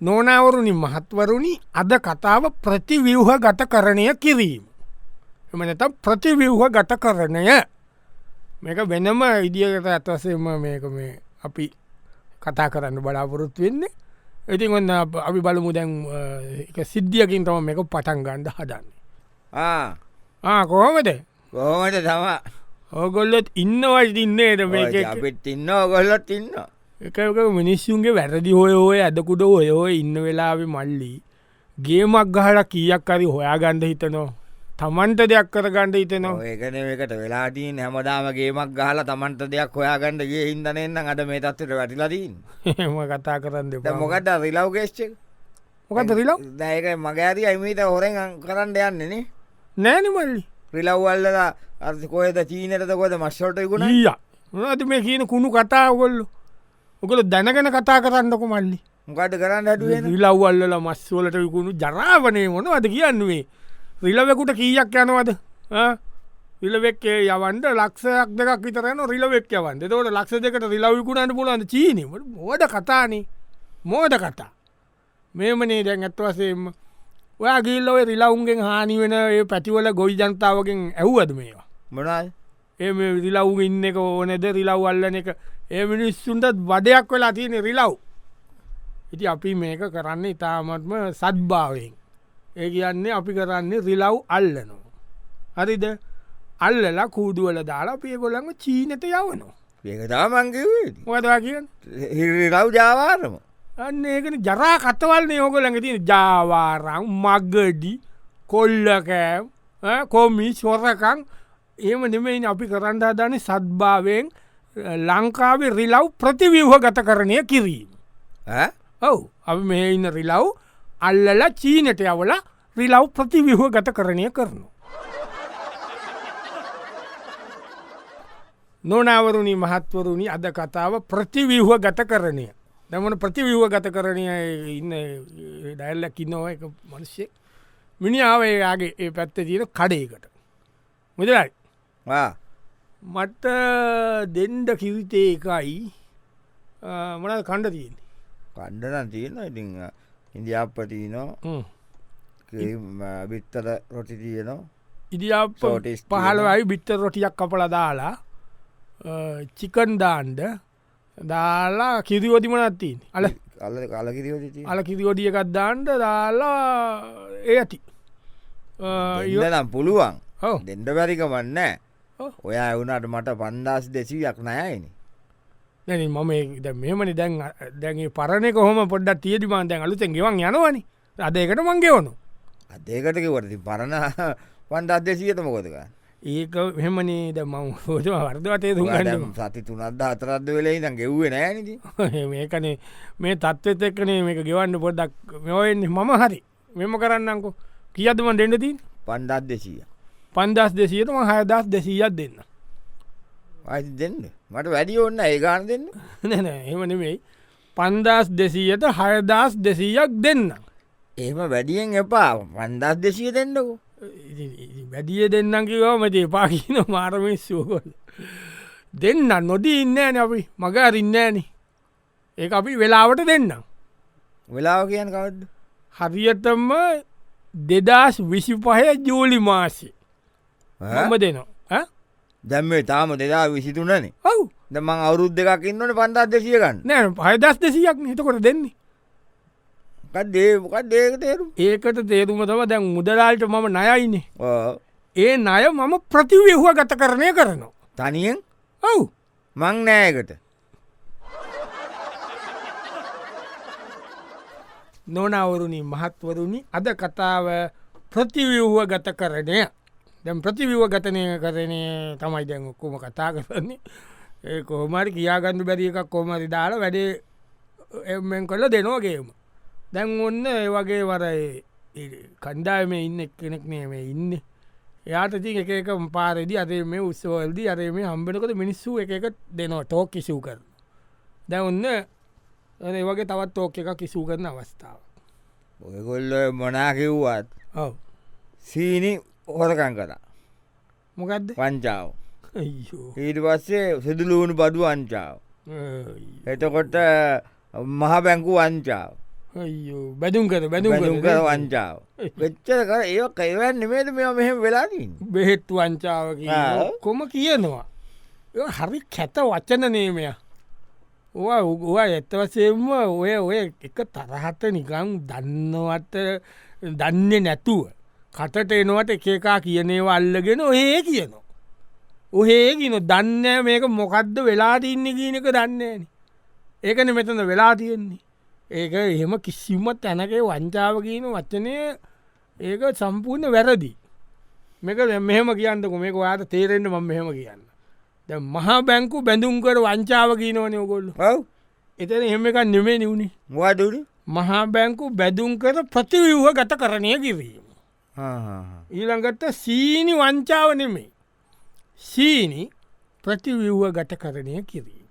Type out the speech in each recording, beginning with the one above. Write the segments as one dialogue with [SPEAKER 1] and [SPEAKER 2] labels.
[SPEAKER 1] නෝනවරුණි මහත්වරුණි අද කතාව ප්‍රතිවිව්හ ගත කරණය කිරීම. එමනතම් ප්‍රතිවිව්හ ගත කරණය මේක වෙනම ඉදිියකට ඇත්වසම මේක මේ අපි කතා කරන්න බලාපොරොත් වෙන්නේ ඉතින් ඔන්න අප- අපි බලමු දැන් අ, එක සිද්ධියකින් තම මේක පටන් ගණ්ඩ හදන්න.
[SPEAKER 2] කොහොමට
[SPEAKER 1] කොහොමද
[SPEAKER 2] තම
[SPEAKER 1] ඕගොල්ලොත් ඉන්නවයි ඉන්නේද මේක එක-
[SPEAKER 2] අපිත් ඉන්න ඔගොල්ලොත් ඉන්න
[SPEAKER 1] එක එක මිනිස්සුන්ගේ වැරදි හොය හෝය ඇදකුඩ ඔය හෝය ඉන්න වෙලාවෙ මල්ලි ගේමක් ගහල කියක් අරි හොයාගන්ඩ හිතනවා තමන්ට දෙයක් කරගණ්ඩ හිතනවා
[SPEAKER 2] ඒකන එකට වෙලාදීන් හැමදාමගේමක් ගහල තමන්ට දෙයක් හොයාගන්නගේ හින්දනන්න අට මේ තත්වට වැටිලදීන්
[SPEAKER 1] එම කතා කරන්න දෙපා.
[SPEAKER 2] මොකට රිලව් ගේස්්චක්
[SPEAKER 1] මොකද රිලව්
[SPEAKER 2] දායක මගේඇති අයිමීට හොරෙන් අං කරන්න යන්නනේ
[SPEAKER 1] නෑන මල්ලි
[SPEAKER 2] රිලව්වල්ලලා අර්කොයද චීනතකොද මස්සොට ගුණ
[SPEAKER 1] ගුණිය නති මේ කියන කුණු කතාවගොල්ල ඔකල දැනගෙන කතා කරන්නක මල්ලි
[SPEAKER 2] මොකට කරන්න හටුවෙන
[SPEAKER 1] රිලව්වල්ල මස්වලට විකුණු ජරාවනය මොන අද කියන්නුවේ රිලවෙකුට කීයක් යනවද රිලවෙක්කේ යවන්ට ලක්ෂයක් දෙකක් විතරන රිලවෙක් යවන්ට තවට ලක්ෂ දෙකට රිලවකුණට පුලන්ද චීනීමට මෝඩ කතානේ මෝඩ කතා මෙමනේ දැන් ඇත්වසේම ඔයා ගිල්ලොව රිලවුන්ගෙන් හානි වෙන ඒ පැතිවල ගොයි ජනතාවගෙන් ඇව්වද මේවා
[SPEAKER 2] මොනල්
[SPEAKER 1] ඒ රිලව් ඉන්න එක ඕනෙද රිලව් අල්ලන එක ඒ මිනිස්සුන්ටත් වඩයක් වෙලා තියෙන රිලව් ඉති අපි මේක කරන්න ඉතාමත්ම සත්භාවයෙන් ඒ කියන්නේ අපි කරන්නේ රිලව් අල්ලනවා හරිද අල්ලලා කූඩුවල දාලා පියගොලඟ චීනත යවනවා
[SPEAKER 2] ඒකතා මංකිවේ
[SPEAKER 1] මොකදවා කියන්න
[SPEAKER 2] හිරිරව් ජාවාරම
[SPEAKER 1] අන්න ඒකන ජරා කතවල් නයෝක ළඟ තියෙන ජාවාරං මගඩි කොල්ලකෑම් ඈ, කොමි සොරකං එම නෙමයින් අපි කරන්න හදාන සත්භාවයෙන් අ, ලංකාවේ රිලව් ප්‍රතිවිව්හ ගත කරණය කිරීම. ඔවු අපි මේ ඉන්න රිලව් අල්ලල චීනට යවල රිලව් ප්‍රතිවිහෝ ගත කරණය කරනු. නොනවරුණි මහත්වරුණි අද කතාව ප්‍රතිවිහ්ව ගත කරණය. දමන ප්‍රතිවිහ්ව ගත කරණය ඉන්න ඩැල්ල කිනෝ එක මනුෂ්‍යය මිනිාවයාගේ ඒ පැත්ත තියෙන කඩේකට. මුදලයි මට දෙන්ඩ කිවිතේ එකයි මොන කණ්ඩ තියෙන්නේ.
[SPEAKER 2] කණ්ඩනන් තියෙන ඉති ඉන්දියාප්පටීනෝ
[SPEAKER 1] හ්ම්.
[SPEAKER 2] බිත්තර රොටි තියනවා
[SPEAKER 1] ඉදිියප
[SPEAKER 2] Shortest
[SPEAKER 1] පහලවයි බිත්තර රොටියක් කපල දාලා චිකන්ඩාන්ඩ දාලා කිරිවතිමනත්තින් අල
[SPEAKER 2] අල්ල කලකිරෝටි
[SPEAKER 1] අල කිරිවටියකත් දාන්ඩ දාලා ඒ ඇති
[SPEAKER 2] ඉලනම් පුළුවන්
[SPEAKER 1] ඔව
[SPEAKER 2] දෙඩ වැරික වන්න
[SPEAKER 1] ඔව්.
[SPEAKER 2] ඔයා එවුණට මට පන්දස් දෙසීයක් නෑයින
[SPEAKER 1] දැන මම ඒ- දැන් මෙමනි දැන් අ- දැන්ගේ පරණය කොහොම පොඩ්ඩක් තියටිමාන් දැන් අලුතෙන් ගෙවන් යනවනි අදකට මංගේවනු
[SPEAKER 2] අදේකට කිවරති පරණ පන්දස් දෙසීයට මොකොදක
[SPEAKER 1] ඒක මෙමනේ ද මං හෝජ වර්ධවතය දුගන්නම
[SPEAKER 2] සති තුනත්ද අතරද්ද වෙලයි නම් ගෙව්වේ නෑනද
[SPEAKER 1] මේකනේ මේ තත්ත්වත් එක්කනේ මේක ගෙවන්න පොඩ්ඩක් මෙෝයන්නේ මම හරි මෙම කරන්නකු කියදම දෙන්නතින්
[SPEAKER 2] පන්දස් දෙසීය
[SPEAKER 1] පන්දස් දෙසියටම හයදස් දෙසීයත් දෙන්න
[SPEAKER 2] අයි දෙන්න මට වැඩි ඔන්න ඒගාන දෙන්න
[SPEAKER 1] නැන එමනෙවෙයි පන්දස් දෙසීයට හයදස් දෙසීයක් දෙන්න
[SPEAKER 2] ඒම වැඩියෙන් එපා පන්දස් දෙසිය දෙන්නකෝ
[SPEAKER 1] වැඩිය දෙන්නම් කිවමට පාකින මාරමිස්සුවකොල් දෙන්න නොදී ඉන්නෑන අපි මග අරින්නෑන ඒ අපි වෙලාවට දෙන්නම්
[SPEAKER 2] වෙලාව කියන්න කවඩ්
[SPEAKER 1] හරියටම දෙදස් විසි පහය ජූලි මාසි හම දෙනවා ඈ?
[SPEAKER 2] දැම්මේ තාම දෙදා විසිතුනනේ
[SPEAKER 1] ඔව්
[SPEAKER 2] දමං අවුරුද් දෙකක් ඉන්නට පන්දස් දෙසියකන්න
[SPEAKER 1] නෑ පයදස් දෙසියක් හිතකොට දෙන්නේ
[SPEAKER 2] දේකත් දේක තේරු
[SPEAKER 1] ඒකට තේරුම තම දැන් මුදලාල්ට මම නයයිනේ ඒ නය මම ප්‍රතිවයහුව ගත කරණය කරනවා
[SPEAKER 2] තනියෙන්
[SPEAKER 1] ඔව්
[SPEAKER 2] මං නෑකට
[SPEAKER 1] නොනවරුණි මහත්වරුණි අද කතාව ප්‍රතිවයහුව ගත කරණය දැම් ප්‍රතිවව ගතනය කරණය තමයි දැන් ඔක්කොම කතා කරන්නේ ඒ කොහොමරි කියාගන්න බැරි එකක් කොමරි දාලා වැඩේ එෙන් කල දෙනෝගේම දැන් ඔන්න ඒ වගේ වර කණ්ඩායම ඉන්න කෙනෙක් නේ මේ ඉන්න එයාට ති එක එක පාරදි අරේ මේ උත්සවල්දි අරේ මේ හම්බෙනකොට මිනිස්සු එක එක දෙනවා ටෝක් කිසිව් කර දැ ඔන්න ඒ වගේ තවත් තෝක එක කිසිව් කරන අවස්ථාව
[SPEAKER 2] ඔයකොල්ල මොනාකිව්වත්
[SPEAKER 1] ඔව
[SPEAKER 2] සීනි හොරකං කර
[SPEAKER 1] මොකක්ද
[SPEAKER 2] පංචාව
[SPEAKER 1] අයියෝ
[SPEAKER 2] ඊට පස්සේ සිදුලූුණු බඩු අංචාව
[SPEAKER 1] අයියෝ.
[SPEAKER 2] එතකොට මහ බැංකු වංචාව
[SPEAKER 1] අයියෝ බැදුම් කර බැදුම්
[SPEAKER 2] බැලුම් කර
[SPEAKER 1] කර
[SPEAKER 2] වංචාව වෙච්චර කර ඒ කයිවන් නෙමේද මෙ මෙහෙම වෙලාදීන්
[SPEAKER 1] බෙහෙත් වංචාව කියන
[SPEAKER 2] ආ.
[SPEAKER 1] කොම කියනවා ඒ හරි කැත වචන නේමය ඔවා ඇත්තවසයෙන්ම ඔය ඔය එක තරහත නිකං දන්නවට දන්නේ නැතුව කටට එනවට එකකා කියනේවා අල්ලගෙන ඔහේ කියනවා ඔහේ කියන දන්න මේක මොකක්ද වෙලා තින්න කියනක දන්නේන ඒකන මෙතන වෙලා තියෙන්නේ ඒක එහෙම කිසිම තැනකේ වංචාව කියන වචනය ඒක සම්පූර්ණ වැරදි මේක දැන් මෙහෙම කියන්නක මේක වාට තේරෙන්ට ම මෙහෙම කියන්න ද මහා බැංකු බැඳුම්කර වංචාව කියීනවනය ඔකොල්ල
[SPEAKER 2] ඔව්
[SPEAKER 1] එතන එහෙම එකක් නෙමේ නිවුණේ
[SPEAKER 2] වඩුඩි
[SPEAKER 1] මහා බැංකු බැදුම්කර ප්‍රතිවව්ව ගත කරණය කිරීම ඊළඟට සීනි වංචාව නෙමේ සීනි ප්‍රතිවව්ව ගත කරණය කිරීම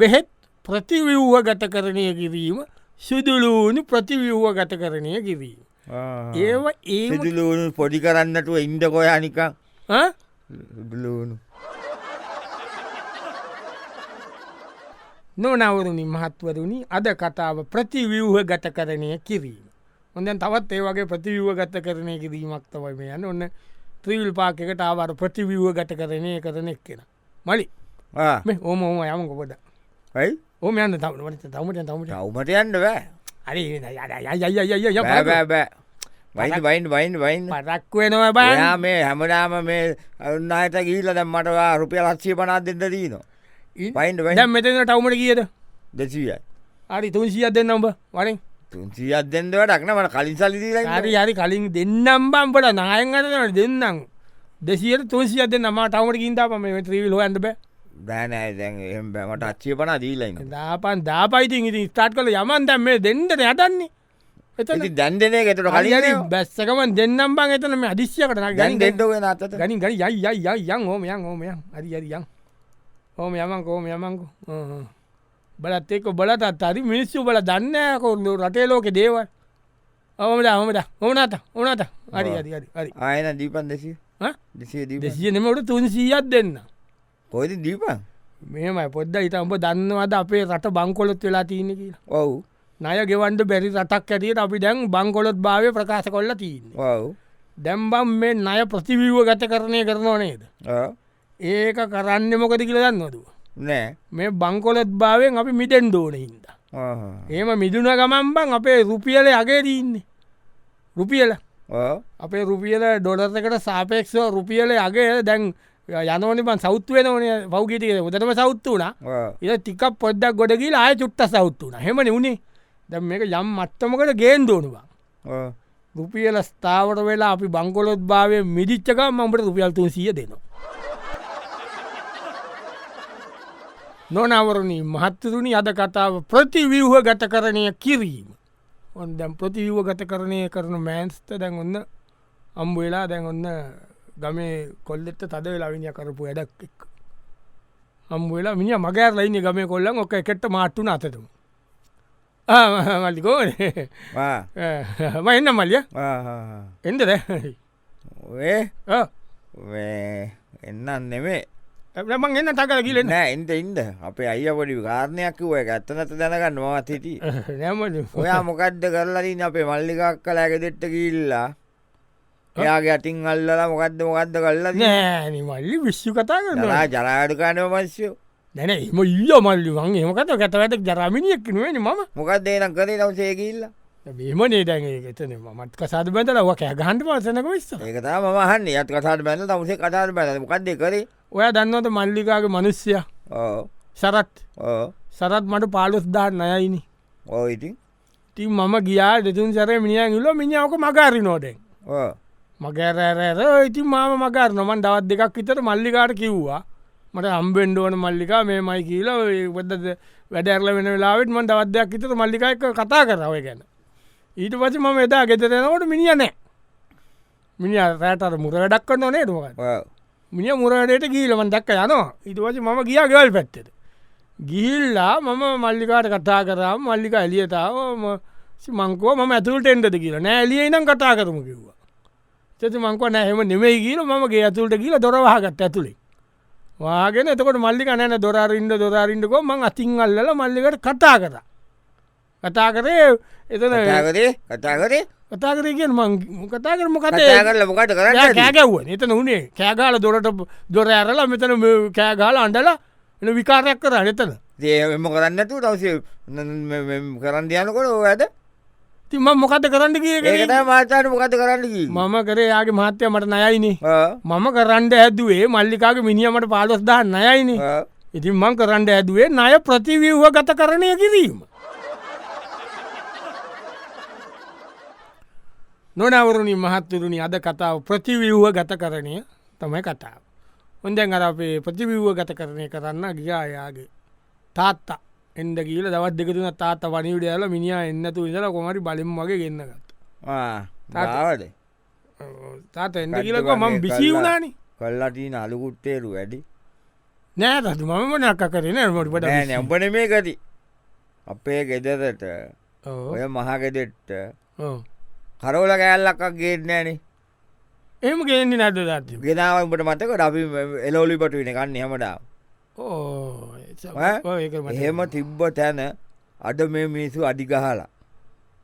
[SPEAKER 1] බෙහෙත් ප්‍රතිවව්ව ගත කරණය කිරීම සුදුලූුණු ප්‍රතිවව්ව ගත කරණය කිරීම ඒව ඒ
[SPEAKER 2] සිදුලූුණු පොඩි කරන්නටුව ඉන්ඩ කොයා නිකං ලූුණු
[SPEAKER 1] නොනවරුණි මහත්වරුණි අද කතාව ප්‍රතිවිව්හ ගත කරණය කිරීම. හොඳන් තවත් ඒ වගේ ප්‍රතිවිව ගත කරණය කිරීමක් තවයි මේ යන්න ඔන්න ත්‍රීවිල් පාකකට ආවර ප්‍රතිවිව්හ ගත කරණය කරනෙක් කෙන. මලි මේ ඕම හෝම යම ගොපට
[SPEAKER 2] යි
[SPEAKER 1] ඕම යන්න තවට තමට තමට
[SPEAKER 2] අවමට යන්න බෑ
[SPEAKER 1] අරි
[SPEAKER 2] බෑ වයින් වයින් වයින් වයින්
[SPEAKER 1] පරක් වෙනවා බා
[SPEAKER 2] ඔයා මේ හැමදාම මේ අන්නයට ගීල දැම් මටවා රුපිය ලක්ෂය පනා දෙන්න දීනවා වයින්ඩ වයින්
[SPEAKER 1] දැම් මෙතන ටවමට කියද
[SPEAKER 2] දෙසීයි
[SPEAKER 1] අරි තුන්සිියත් දෙන්න ඔඹ වරින්
[SPEAKER 2] තුන්සිියත් දෙෙන්දවටක්න මට කලින් සල්ලිදීලා
[SPEAKER 1] හරි හරි කලින් දෙන්නම් බම්පට නායගතට දෙන්නම් දෙසියට තුන්සිියද නමා ටවට ගින්තාපම මේ ත්‍රීවිල් ඇන්ට බෑ
[SPEAKER 2] බෑනෑ දැන් එහම බෑමට අච්චිය පනා දීලයින්න
[SPEAKER 1] දාපන් දාපයිති ඉති ස්ටාට් කළ යමන් දැම් මේ දෙන්නට යටන්නේ එතන
[SPEAKER 2] ඇති දැන්දනය ගෙතට
[SPEAKER 1] හරි
[SPEAKER 2] කලින්
[SPEAKER 1] බැස්සකමන් දෙන්නම් බං එතන මේ අදිශ්‍යකට
[SPEAKER 2] දැන්
[SPEAKER 1] ගනි
[SPEAKER 2] දෙෙන්ඩුව නතත
[SPEAKER 1] ගනි ගනි යයි යයි යයි යන් හෝම යන් හෝම යන් හරි හරි යන් හෝම යමන් කෝම යමන්කු බලත් එක්ක බලතත් හරි මිනිස්සු බල දන්නකොල්ලු රටේ ලෝක දේවල් ඕමට හොමට ඕනත ඕනත හරි හරි හරි හරි
[SPEAKER 2] ආයන දීපන් දෙසි
[SPEAKER 1] ඈ?
[SPEAKER 2] දෙසිය දී
[SPEAKER 1] දෙසිය නෙමට තුන්සීයත් දෙන්න
[SPEAKER 2] කොයිති දීපන්
[SPEAKER 1] මෙමයි පොද්ද ඉත උඹ දන්නවද අපේ රට බංකොලොත් වෙලා තියෙන කියලා
[SPEAKER 2] ඔව්
[SPEAKER 1] නය ගෙවන්ඩ බැරි රටක් ඇතිට අපි දැන් බංකොලොත් භාව ප්‍රකාශ කොල්ල තියන්නේ
[SPEAKER 2] ඔව්
[SPEAKER 1] දැම්බම් මේ නය ප්‍රතිවීව ගත කරණය කරනවා නේද
[SPEAKER 2] ඔව්.
[SPEAKER 1] ඒක කරන්න මොකද කියල දන්නවදුව
[SPEAKER 2] නෑ
[SPEAKER 1] මේ බංකොලොත් භාවෙන් අපි මිටෙන් දෝන හින්ද
[SPEAKER 2] ආහා.
[SPEAKER 1] ඒම මිදුන ගමම්බන් අපේ රුපියල අගේ දීන්නේ රුපියල
[SPEAKER 2] ඔව්.
[SPEAKER 1] අපේ රුපියල ඩොලර්කට සාපේක්ෂව රුපියල අගේ දැන් යනෝනි පන් සෞත්වය නොන පෞගීතික උදටම සෞත්තු වනා
[SPEAKER 2] ඔව්.
[SPEAKER 1] ඉ ටිකක් පොද්දක් ගොඩ කියලා ආය චුට්ට සෞත්තු වන හෙමනි වුණේ දැම් මේක යම් මත්තමකට ගේන් දෝනවා
[SPEAKER 2] ඔව්.
[SPEAKER 1] රුපියල ස්ථාවට වෙලා අපි බංකොලොත් භාවය මිදිච්චක මට රුපියල්තුන් සිය දෙනවා. නොනවරණී මහත්තරුණි අද කතාව ප්‍රතිවිව්හ ගත කරණය කිරීම. ඔන් දැම් ප්‍රතිව්ව ගත කරණය කරන මෑන්ස්ත දැන් ඔන්න අම්බ වෙලා දැන් ඔන්න ගමේ කොල්ලෙට තද වෙලාවිනිය කරපු වැඩක් එක්. අම් වෙලා මිනි මගෑර ලයින්න ගමේ කොල්ලන් ඔක එකට මාට්ටුන අතතුම. මල්ලිකෝ
[SPEAKER 2] ආ.
[SPEAKER 1] මන්න මල්ලිය
[SPEAKER 2] ආහා.
[SPEAKER 1] එන්ද දැ
[SPEAKER 2] ඔය
[SPEAKER 1] Ah,
[SPEAKER 2] මේ එන්නන් නෙමේ
[SPEAKER 1] ඇමන් එන්න තකර කියලෙන
[SPEAKER 2] නෑ එන්ට ඉන්ද අපේ අය පොඩි කාරණයක් ඔය ඇත්තනත දැනගන්න මවත් හිටී
[SPEAKER 1] නැම
[SPEAKER 2] ඔයා මොකක්ද කරලදින් අපේ මල්ලිකක් කලාග දෙෙට්ට කිල්ලා එයාගේ අටින් අල්ලලා මොකක්ද මොකක්ද කල්ලා
[SPEAKER 1] නෑන මල්ලි විශ්ෂු කතා කරනවා
[SPEAKER 2] නලා ජරාඩකානව මංස්යෝ
[SPEAKER 1] දැන එම ඊය මල්ලි වන් එමකත කැතවැත ජරමිනියක් නුවන ම
[SPEAKER 2] මොකක්ද ඒනම් කරේ නවසේකිල්ලා
[SPEAKER 1] බේම නේදැගේ එතන මත් කසාද බැඳල ක ගහන්ට පසනක විස්ස
[SPEAKER 2] ඒකතා මහන්න යත් කතාට බැල තමසේ කතාට බැල මොකක්ද කරේ
[SPEAKER 1] ඔය දන්නවත මල්ලිකාගේ මනුස්්‍යය
[SPEAKER 2] ඕ
[SPEAKER 1] සරත්
[SPEAKER 2] ඕ
[SPEAKER 1] සරත් මට පාලොස් දාන්න අයයිනි
[SPEAKER 2] ඕ ඉතින්
[SPEAKER 1] ති මම ගියා දෙතුන් සර මිනිිය ගිල්ල මිනිියාවක මගාරි නෝඩෙන්
[SPEAKER 2] ඕ
[SPEAKER 1] මගරෑරෑර ඉතින් මාම මගර නොමන් දවත් දෙකක් විතර මල්ලිකාට කිව්වා මට අම්බෙන්ඩ ඕන මල්ලිකා මේ මයි කියලා වෙදද වැඩඇරල වෙන වෙලාවෙත් මන් දවත්දයක් විතර මල්ලිකා එක කතා කරාව ගැන ඊට පස මම එදා ගෙතරෙනකොට මිනිිය නෑ මිනි රෑටර මුර වැඩක් කන්න නේ දුවගන්න
[SPEAKER 2] ඕ
[SPEAKER 1] මිනි මුරවැඩයට ගීලමන් දක්ක යනවා ඉටවස මම ගියා ගෙවල් පැත්තෙට ගිල්ලා මම මල්ලිකාට කතා කරම් මල්ලික එලියතාව මංකව ම ඇතුළට එන්ටද කියලා නෑ එලිය නම් කතා කරම කිව්වා චති මංකව නෑහෙම නෙමයි කියල මගේ ඇතුළට කියල දොරවාහගත් ඇතුළේ වාගෙන එතකට මල්ලි කනෑන දොරරින්ට දොරරින්ටකෝ මං අතින් අල්ල මල්ලිකට කතා කර කතා කරේ එතන
[SPEAKER 2] කතාකරේ කතාකරේ
[SPEAKER 1] කතාකරේ කියෙන් මං කතා කරම කතේ
[SPEAKER 2] කතා කරල මොකට කරන්න
[SPEAKER 1] කෑගැව්ව එතන උනේ කෑගාල දොරට දොර ඇරලා මෙතන මේ කෑගාල අන්ඩලා එ විකාරයක් කර නතන
[SPEAKER 2] දේම කරන්නතු තවස කරන්න යනකොට ඇද
[SPEAKER 1] තිම මොකත කරන්න කිය
[SPEAKER 2] ඒකට මාතාට මොකත කරන්න කි
[SPEAKER 1] මම කරේ යාගේ මහත්‍යය මට නයයිනේ මම කරන්න ඇදුවේ මල්ලිකාගේ මිනිියමට පාලොස්දා නයයිනේ ඉතින් මං කරන්න ඇදුවේ ණය ප්‍රතිවව්ව ගත කරණය කිරීම. නොනවරුණි මහත්තුරුණි අද කතාව ප්‍රතිවව්ව ගත කරණය තමයි කතාව. හොන්දැන් අර අපේ ප්‍රතිවව්ව ගත කරණය කරන්න ගියායාගේ තාත්තා එන්ද කියීල දවත් දෙකතුන තාත්ත වනිවිට යාල මිනිිය එන්නතු ඉදල කොමරි බලින් වගේ ගන්නගත්.
[SPEAKER 2] තාවද
[SPEAKER 1] තාත එන්න කියලක මං බිසි වුණනි
[SPEAKER 2] කල්ලාටී අලුකුත්තේරු වැඩි
[SPEAKER 1] නෑ තතු මම නක්ක කරන මටිපට
[SPEAKER 2] නැම්පන මේ ගති අපේ ගෙදරට ඔය මහගෙදෙට්ට කරෝල කෑල්ලක්ක් ගේට නෑනේ
[SPEAKER 1] එම ගේන්නේ නැද දත්ති
[SPEAKER 2] ගෙනාවට මතකට අපි එලෝලි පටුවෙන කන්න හෙමටාව
[SPEAKER 1] ඕ
[SPEAKER 2] ඈ? එහෙම තිබ්බ තැන අඩ මේ මිනිසු අඩිගහලා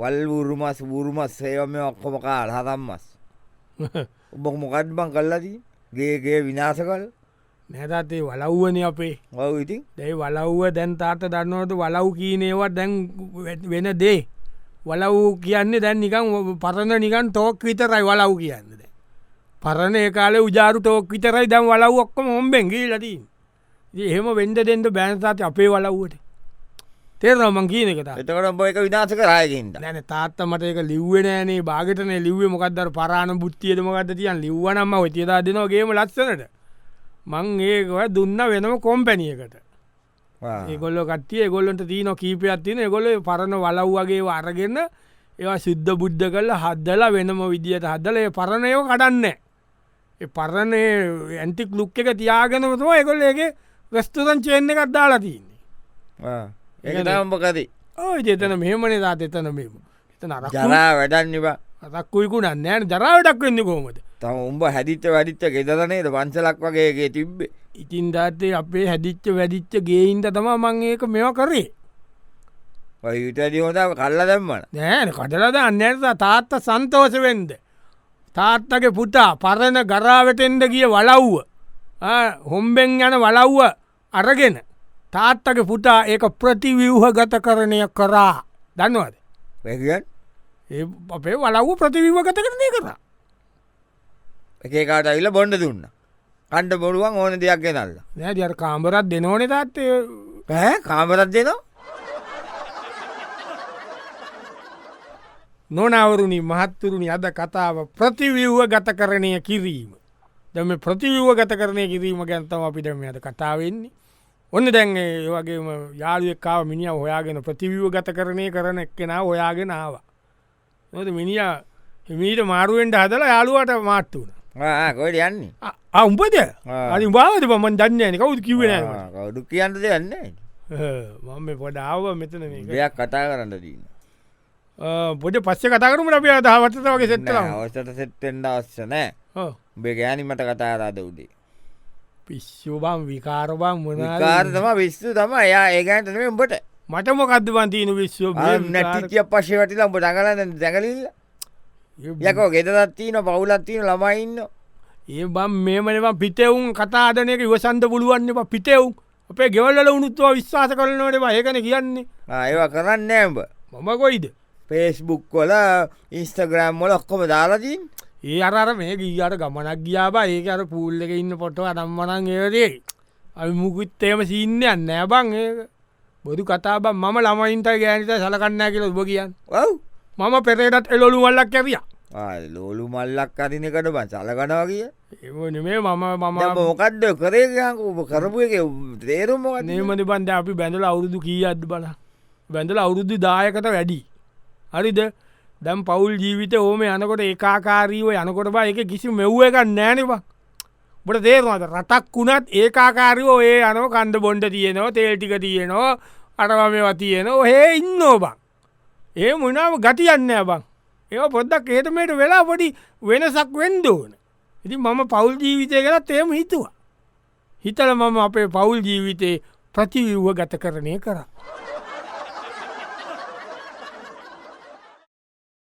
[SPEAKER 2] වල් වූරුමස් වූරුමස් සේවම ඔක්කොම කාල හතම්මස් උබක් මොකත් බං කල්ලදී ගේගේ විනාශ කල්
[SPEAKER 1] නැතත්තේ වලව්වන අපේ
[SPEAKER 2] ඔව ඉතින්
[SPEAKER 1] දැයි වලව්ව දැන් තාත දන්නවට වලව් කියීනේවා දැන් වැ- වෙන දේ වලව් කියන්නේ දැන් නිකං ඔ- පරණ නිකන් තෝක් විතරයි වලව් කියන්නද පරණ ඒ කාලේ උජාරු තෝක් විතරයි දැම් වලව් ඔක්කොම හොම්බෙන්ගේ ලතින් එහෙම වෙන්ඩ දෙෙන්ට බෑන්සාත අපේ වලව්වට තේරමං කියන එකතා
[SPEAKER 2] එතකට බ එක විනාශ කරයගෙන්ට
[SPEAKER 1] නැන තාත්ත මට එක ලිව්වෙනෑනේ භාගටන ලිවේ මොකක්දර පරාණ බුත්තියද මොකක්ද තියන් ලිව්වනම්ම තියදා දෙනවාගේම ලස්සනට මං ඒකව දුන්න වෙනම කොම්පැනියකට ඒගොල්ල කට්ටිය ගොල්ලොට තියන කීපයක් තින ගොල පරණ වලව්වගේ අරගන්න ඒවා සිද්ධ බුද්ධ කල්ල හද්දලා වෙනම විදිහට හදල ඒ පරණයව කඩන්න ඒ පරණ ඇන්ටික් ලුක් එක තියාගෙනතුම එකොල්ල එක වෙස්තුරන් චේන්න එකක් දාලා තියන්නේ
[SPEAKER 2] ඒ දම්පකති
[SPEAKER 1] ඕ ජේතන මෙහමනේ තාත් එතන මෙම එතන අර
[SPEAKER 2] ජනා වැඩන්නවා
[SPEAKER 1] අතක්කුයිකු නන්නෑන ජරාවටක් වෙන්න කොමද
[SPEAKER 2] තම උඹ හැදිත්ත වැඩිත්ත ගෙදරනේද පංසලක් වගේගේ තිබ්බේ
[SPEAKER 1] ඉතින් දාත්තේ අපේ හැදිච්ච වැඩිච්ච ගේයින්ට තම මං ඒක මෙව කරේ
[SPEAKER 2] යුටඩි හොතාව කල්ල දැම්මන
[SPEAKER 1] නෑන කටලද අන්නයට තාත්ත සන්තෝස වෙන්ද තාත්තගේ පුතා පරණ ගරාවටෙන්ට ගිය වලව්ව ආ, හොම්බෙන් යන වලව්ව අරගෙන තාත්තගේ පුතා ඒක ප්‍රතිවිව්හ ගත කරණය කරා දන්නවද
[SPEAKER 2] වැකන්
[SPEAKER 1] ඒ අපේ වලව්ව ප්‍රතිවිව ගත කරණය කරා
[SPEAKER 2] එකකාට ඉල්ල බොන්ඩ දුන්න කණ්ඩ බොඩුවන් ඕන දෙයක් ගෙනල්ල
[SPEAKER 1] නෑ ජර කාම්බරත් දෙනෝනේ තාත්තය
[SPEAKER 2] පැ කාමරත් දෙනවා
[SPEAKER 1] නොනවරුණි මහත්තුරුණි අද කතාව ප්‍රතිවිව්ව ගත කරණය කිරීම. දම ප්‍රතිවිව්ව ගත කරණය කිරීම ගැන්තම අපිටම ඇද කතාවෙන්නේ. ඔන්න දැන් ඒ වගේ යාලුවක්කාව මිනිිය හොයාගෙන ප්‍රතිවිව්ව ගත කරණය කරන එක්කෙනා ඔයාගෙන ආවා. නොද මිනිිය හිමීට මාරුවෙන්ට හදලා යාළුවට මාට්ට වුණ.
[SPEAKER 2] කොට යන්නේ
[SPEAKER 1] අඋපද අනි බාවද පමන් දන්නේන කවුද කිවෙන
[SPEAKER 2] කවුඩු කියන්නද යන්නේ
[SPEAKER 1] මම පොඩාව මෙතන මේක.
[SPEAKER 2] දෙයක් කතා කරන්න දීන්න
[SPEAKER 1] අ, පොඩ පස්ස කතාකරමට අපිය අදහවත්තත වගේ සෙත්තලා
[SPEAKER 2] අවසට සෙට්ටෙන්ඩ අවස්ස නෑ උඹේ ගෑනිමට කතාරාද උඩේ
[SPEAKER 1] පිස්සුබම් විකාරබම් මොනාකාර
[SPEAKER 2] කාර්තම විස්සු තම එයා ඒගන්ටන උඹට
[SPEAKER 1] මටම කදවන් තියන විශ්ව
[SPEAKER 2] නැටිටිය පශ්ි වටිලා උඹ දඟලන්න දැකලල්ල යකෝ ගෙදරත්තින පවුලත්තින ළමයින්න
[SPEAKER 1] ඒ බම් මේමනවා පිටෙවුම් කතාදනයක ඉවසන්ද පුළුවන් එප පිටෙවුම් අපේ ගෙවල්ල උනුත්තුව විශ්වාස කරනවට ඒකන කියන්නේ
[SPEAKER 2] ඒවා කරන්න ඇම්බ
[SPEAKER 1] මම කොයිද
[SPEAKER 2] පේස්බුක් වල ඉස්තග්‍රෑම් මොල ඔක්කොම දාලතින්
[SPEAKER 1] ඒ අරර මේක අට ගමනක් ගියාබා ඒක අර පූල්ල එක ඉන්න පොට අටම්මනන් ඒරේ අල් මුකුත්තේම සිීන්නයන්න නෑබං ඒක බොදු කතාබ මම ළමයින්ට ගෑනිත සලකන්න කියල උබ කියන්න
[SPEAKER 2] ඔව්
[SPEAKER 1] මම පෙරේටත් එලොලු වල්ලක් කැවිය
[SPEAKER 2] ලෝලු මල්ලක් අරිනකට බන් සලකනවා කිය
[SPEAKER 1] එ මේ මම මම
[SPEAKER 2] මොකක්ද කරේගක උප කරපු එක තේරුම් මොකත්
[SPEAKER 1] නේමති බන්ද අපි බැඳල අවුරුදු කී අද බල බැඳල අවුරුදු දායකට වැඩි හරිද දැම් පවුල් ජීවිත ඕම යනකොට ඒකාකාරීව යනකොට බා එක කිසි මෙව්ව එකක් නෑනවා බට තේරවාද රටක් වුණත් ඒකාකාරීව ඒ යන කණ්ඩ බොන්ඩ තියෙනවා තේල්ටික තියෙනවා අටවා මේවා තියෙනවා ඔහේ ඉන්නෝ බං ඒ මුණාව ගතියන්න බං ඒ පොද්දක් ඒතමයට වෙලා පොඩි වෙනසක් වෙන්ඩ ඕන ඉති මම පවුල් ජීවිතය කරත් එම හිතුවා හිතල මම අපේ පවුල් ජීවිතයේ ප්‍රතිවිව්ව ගත කරණය කර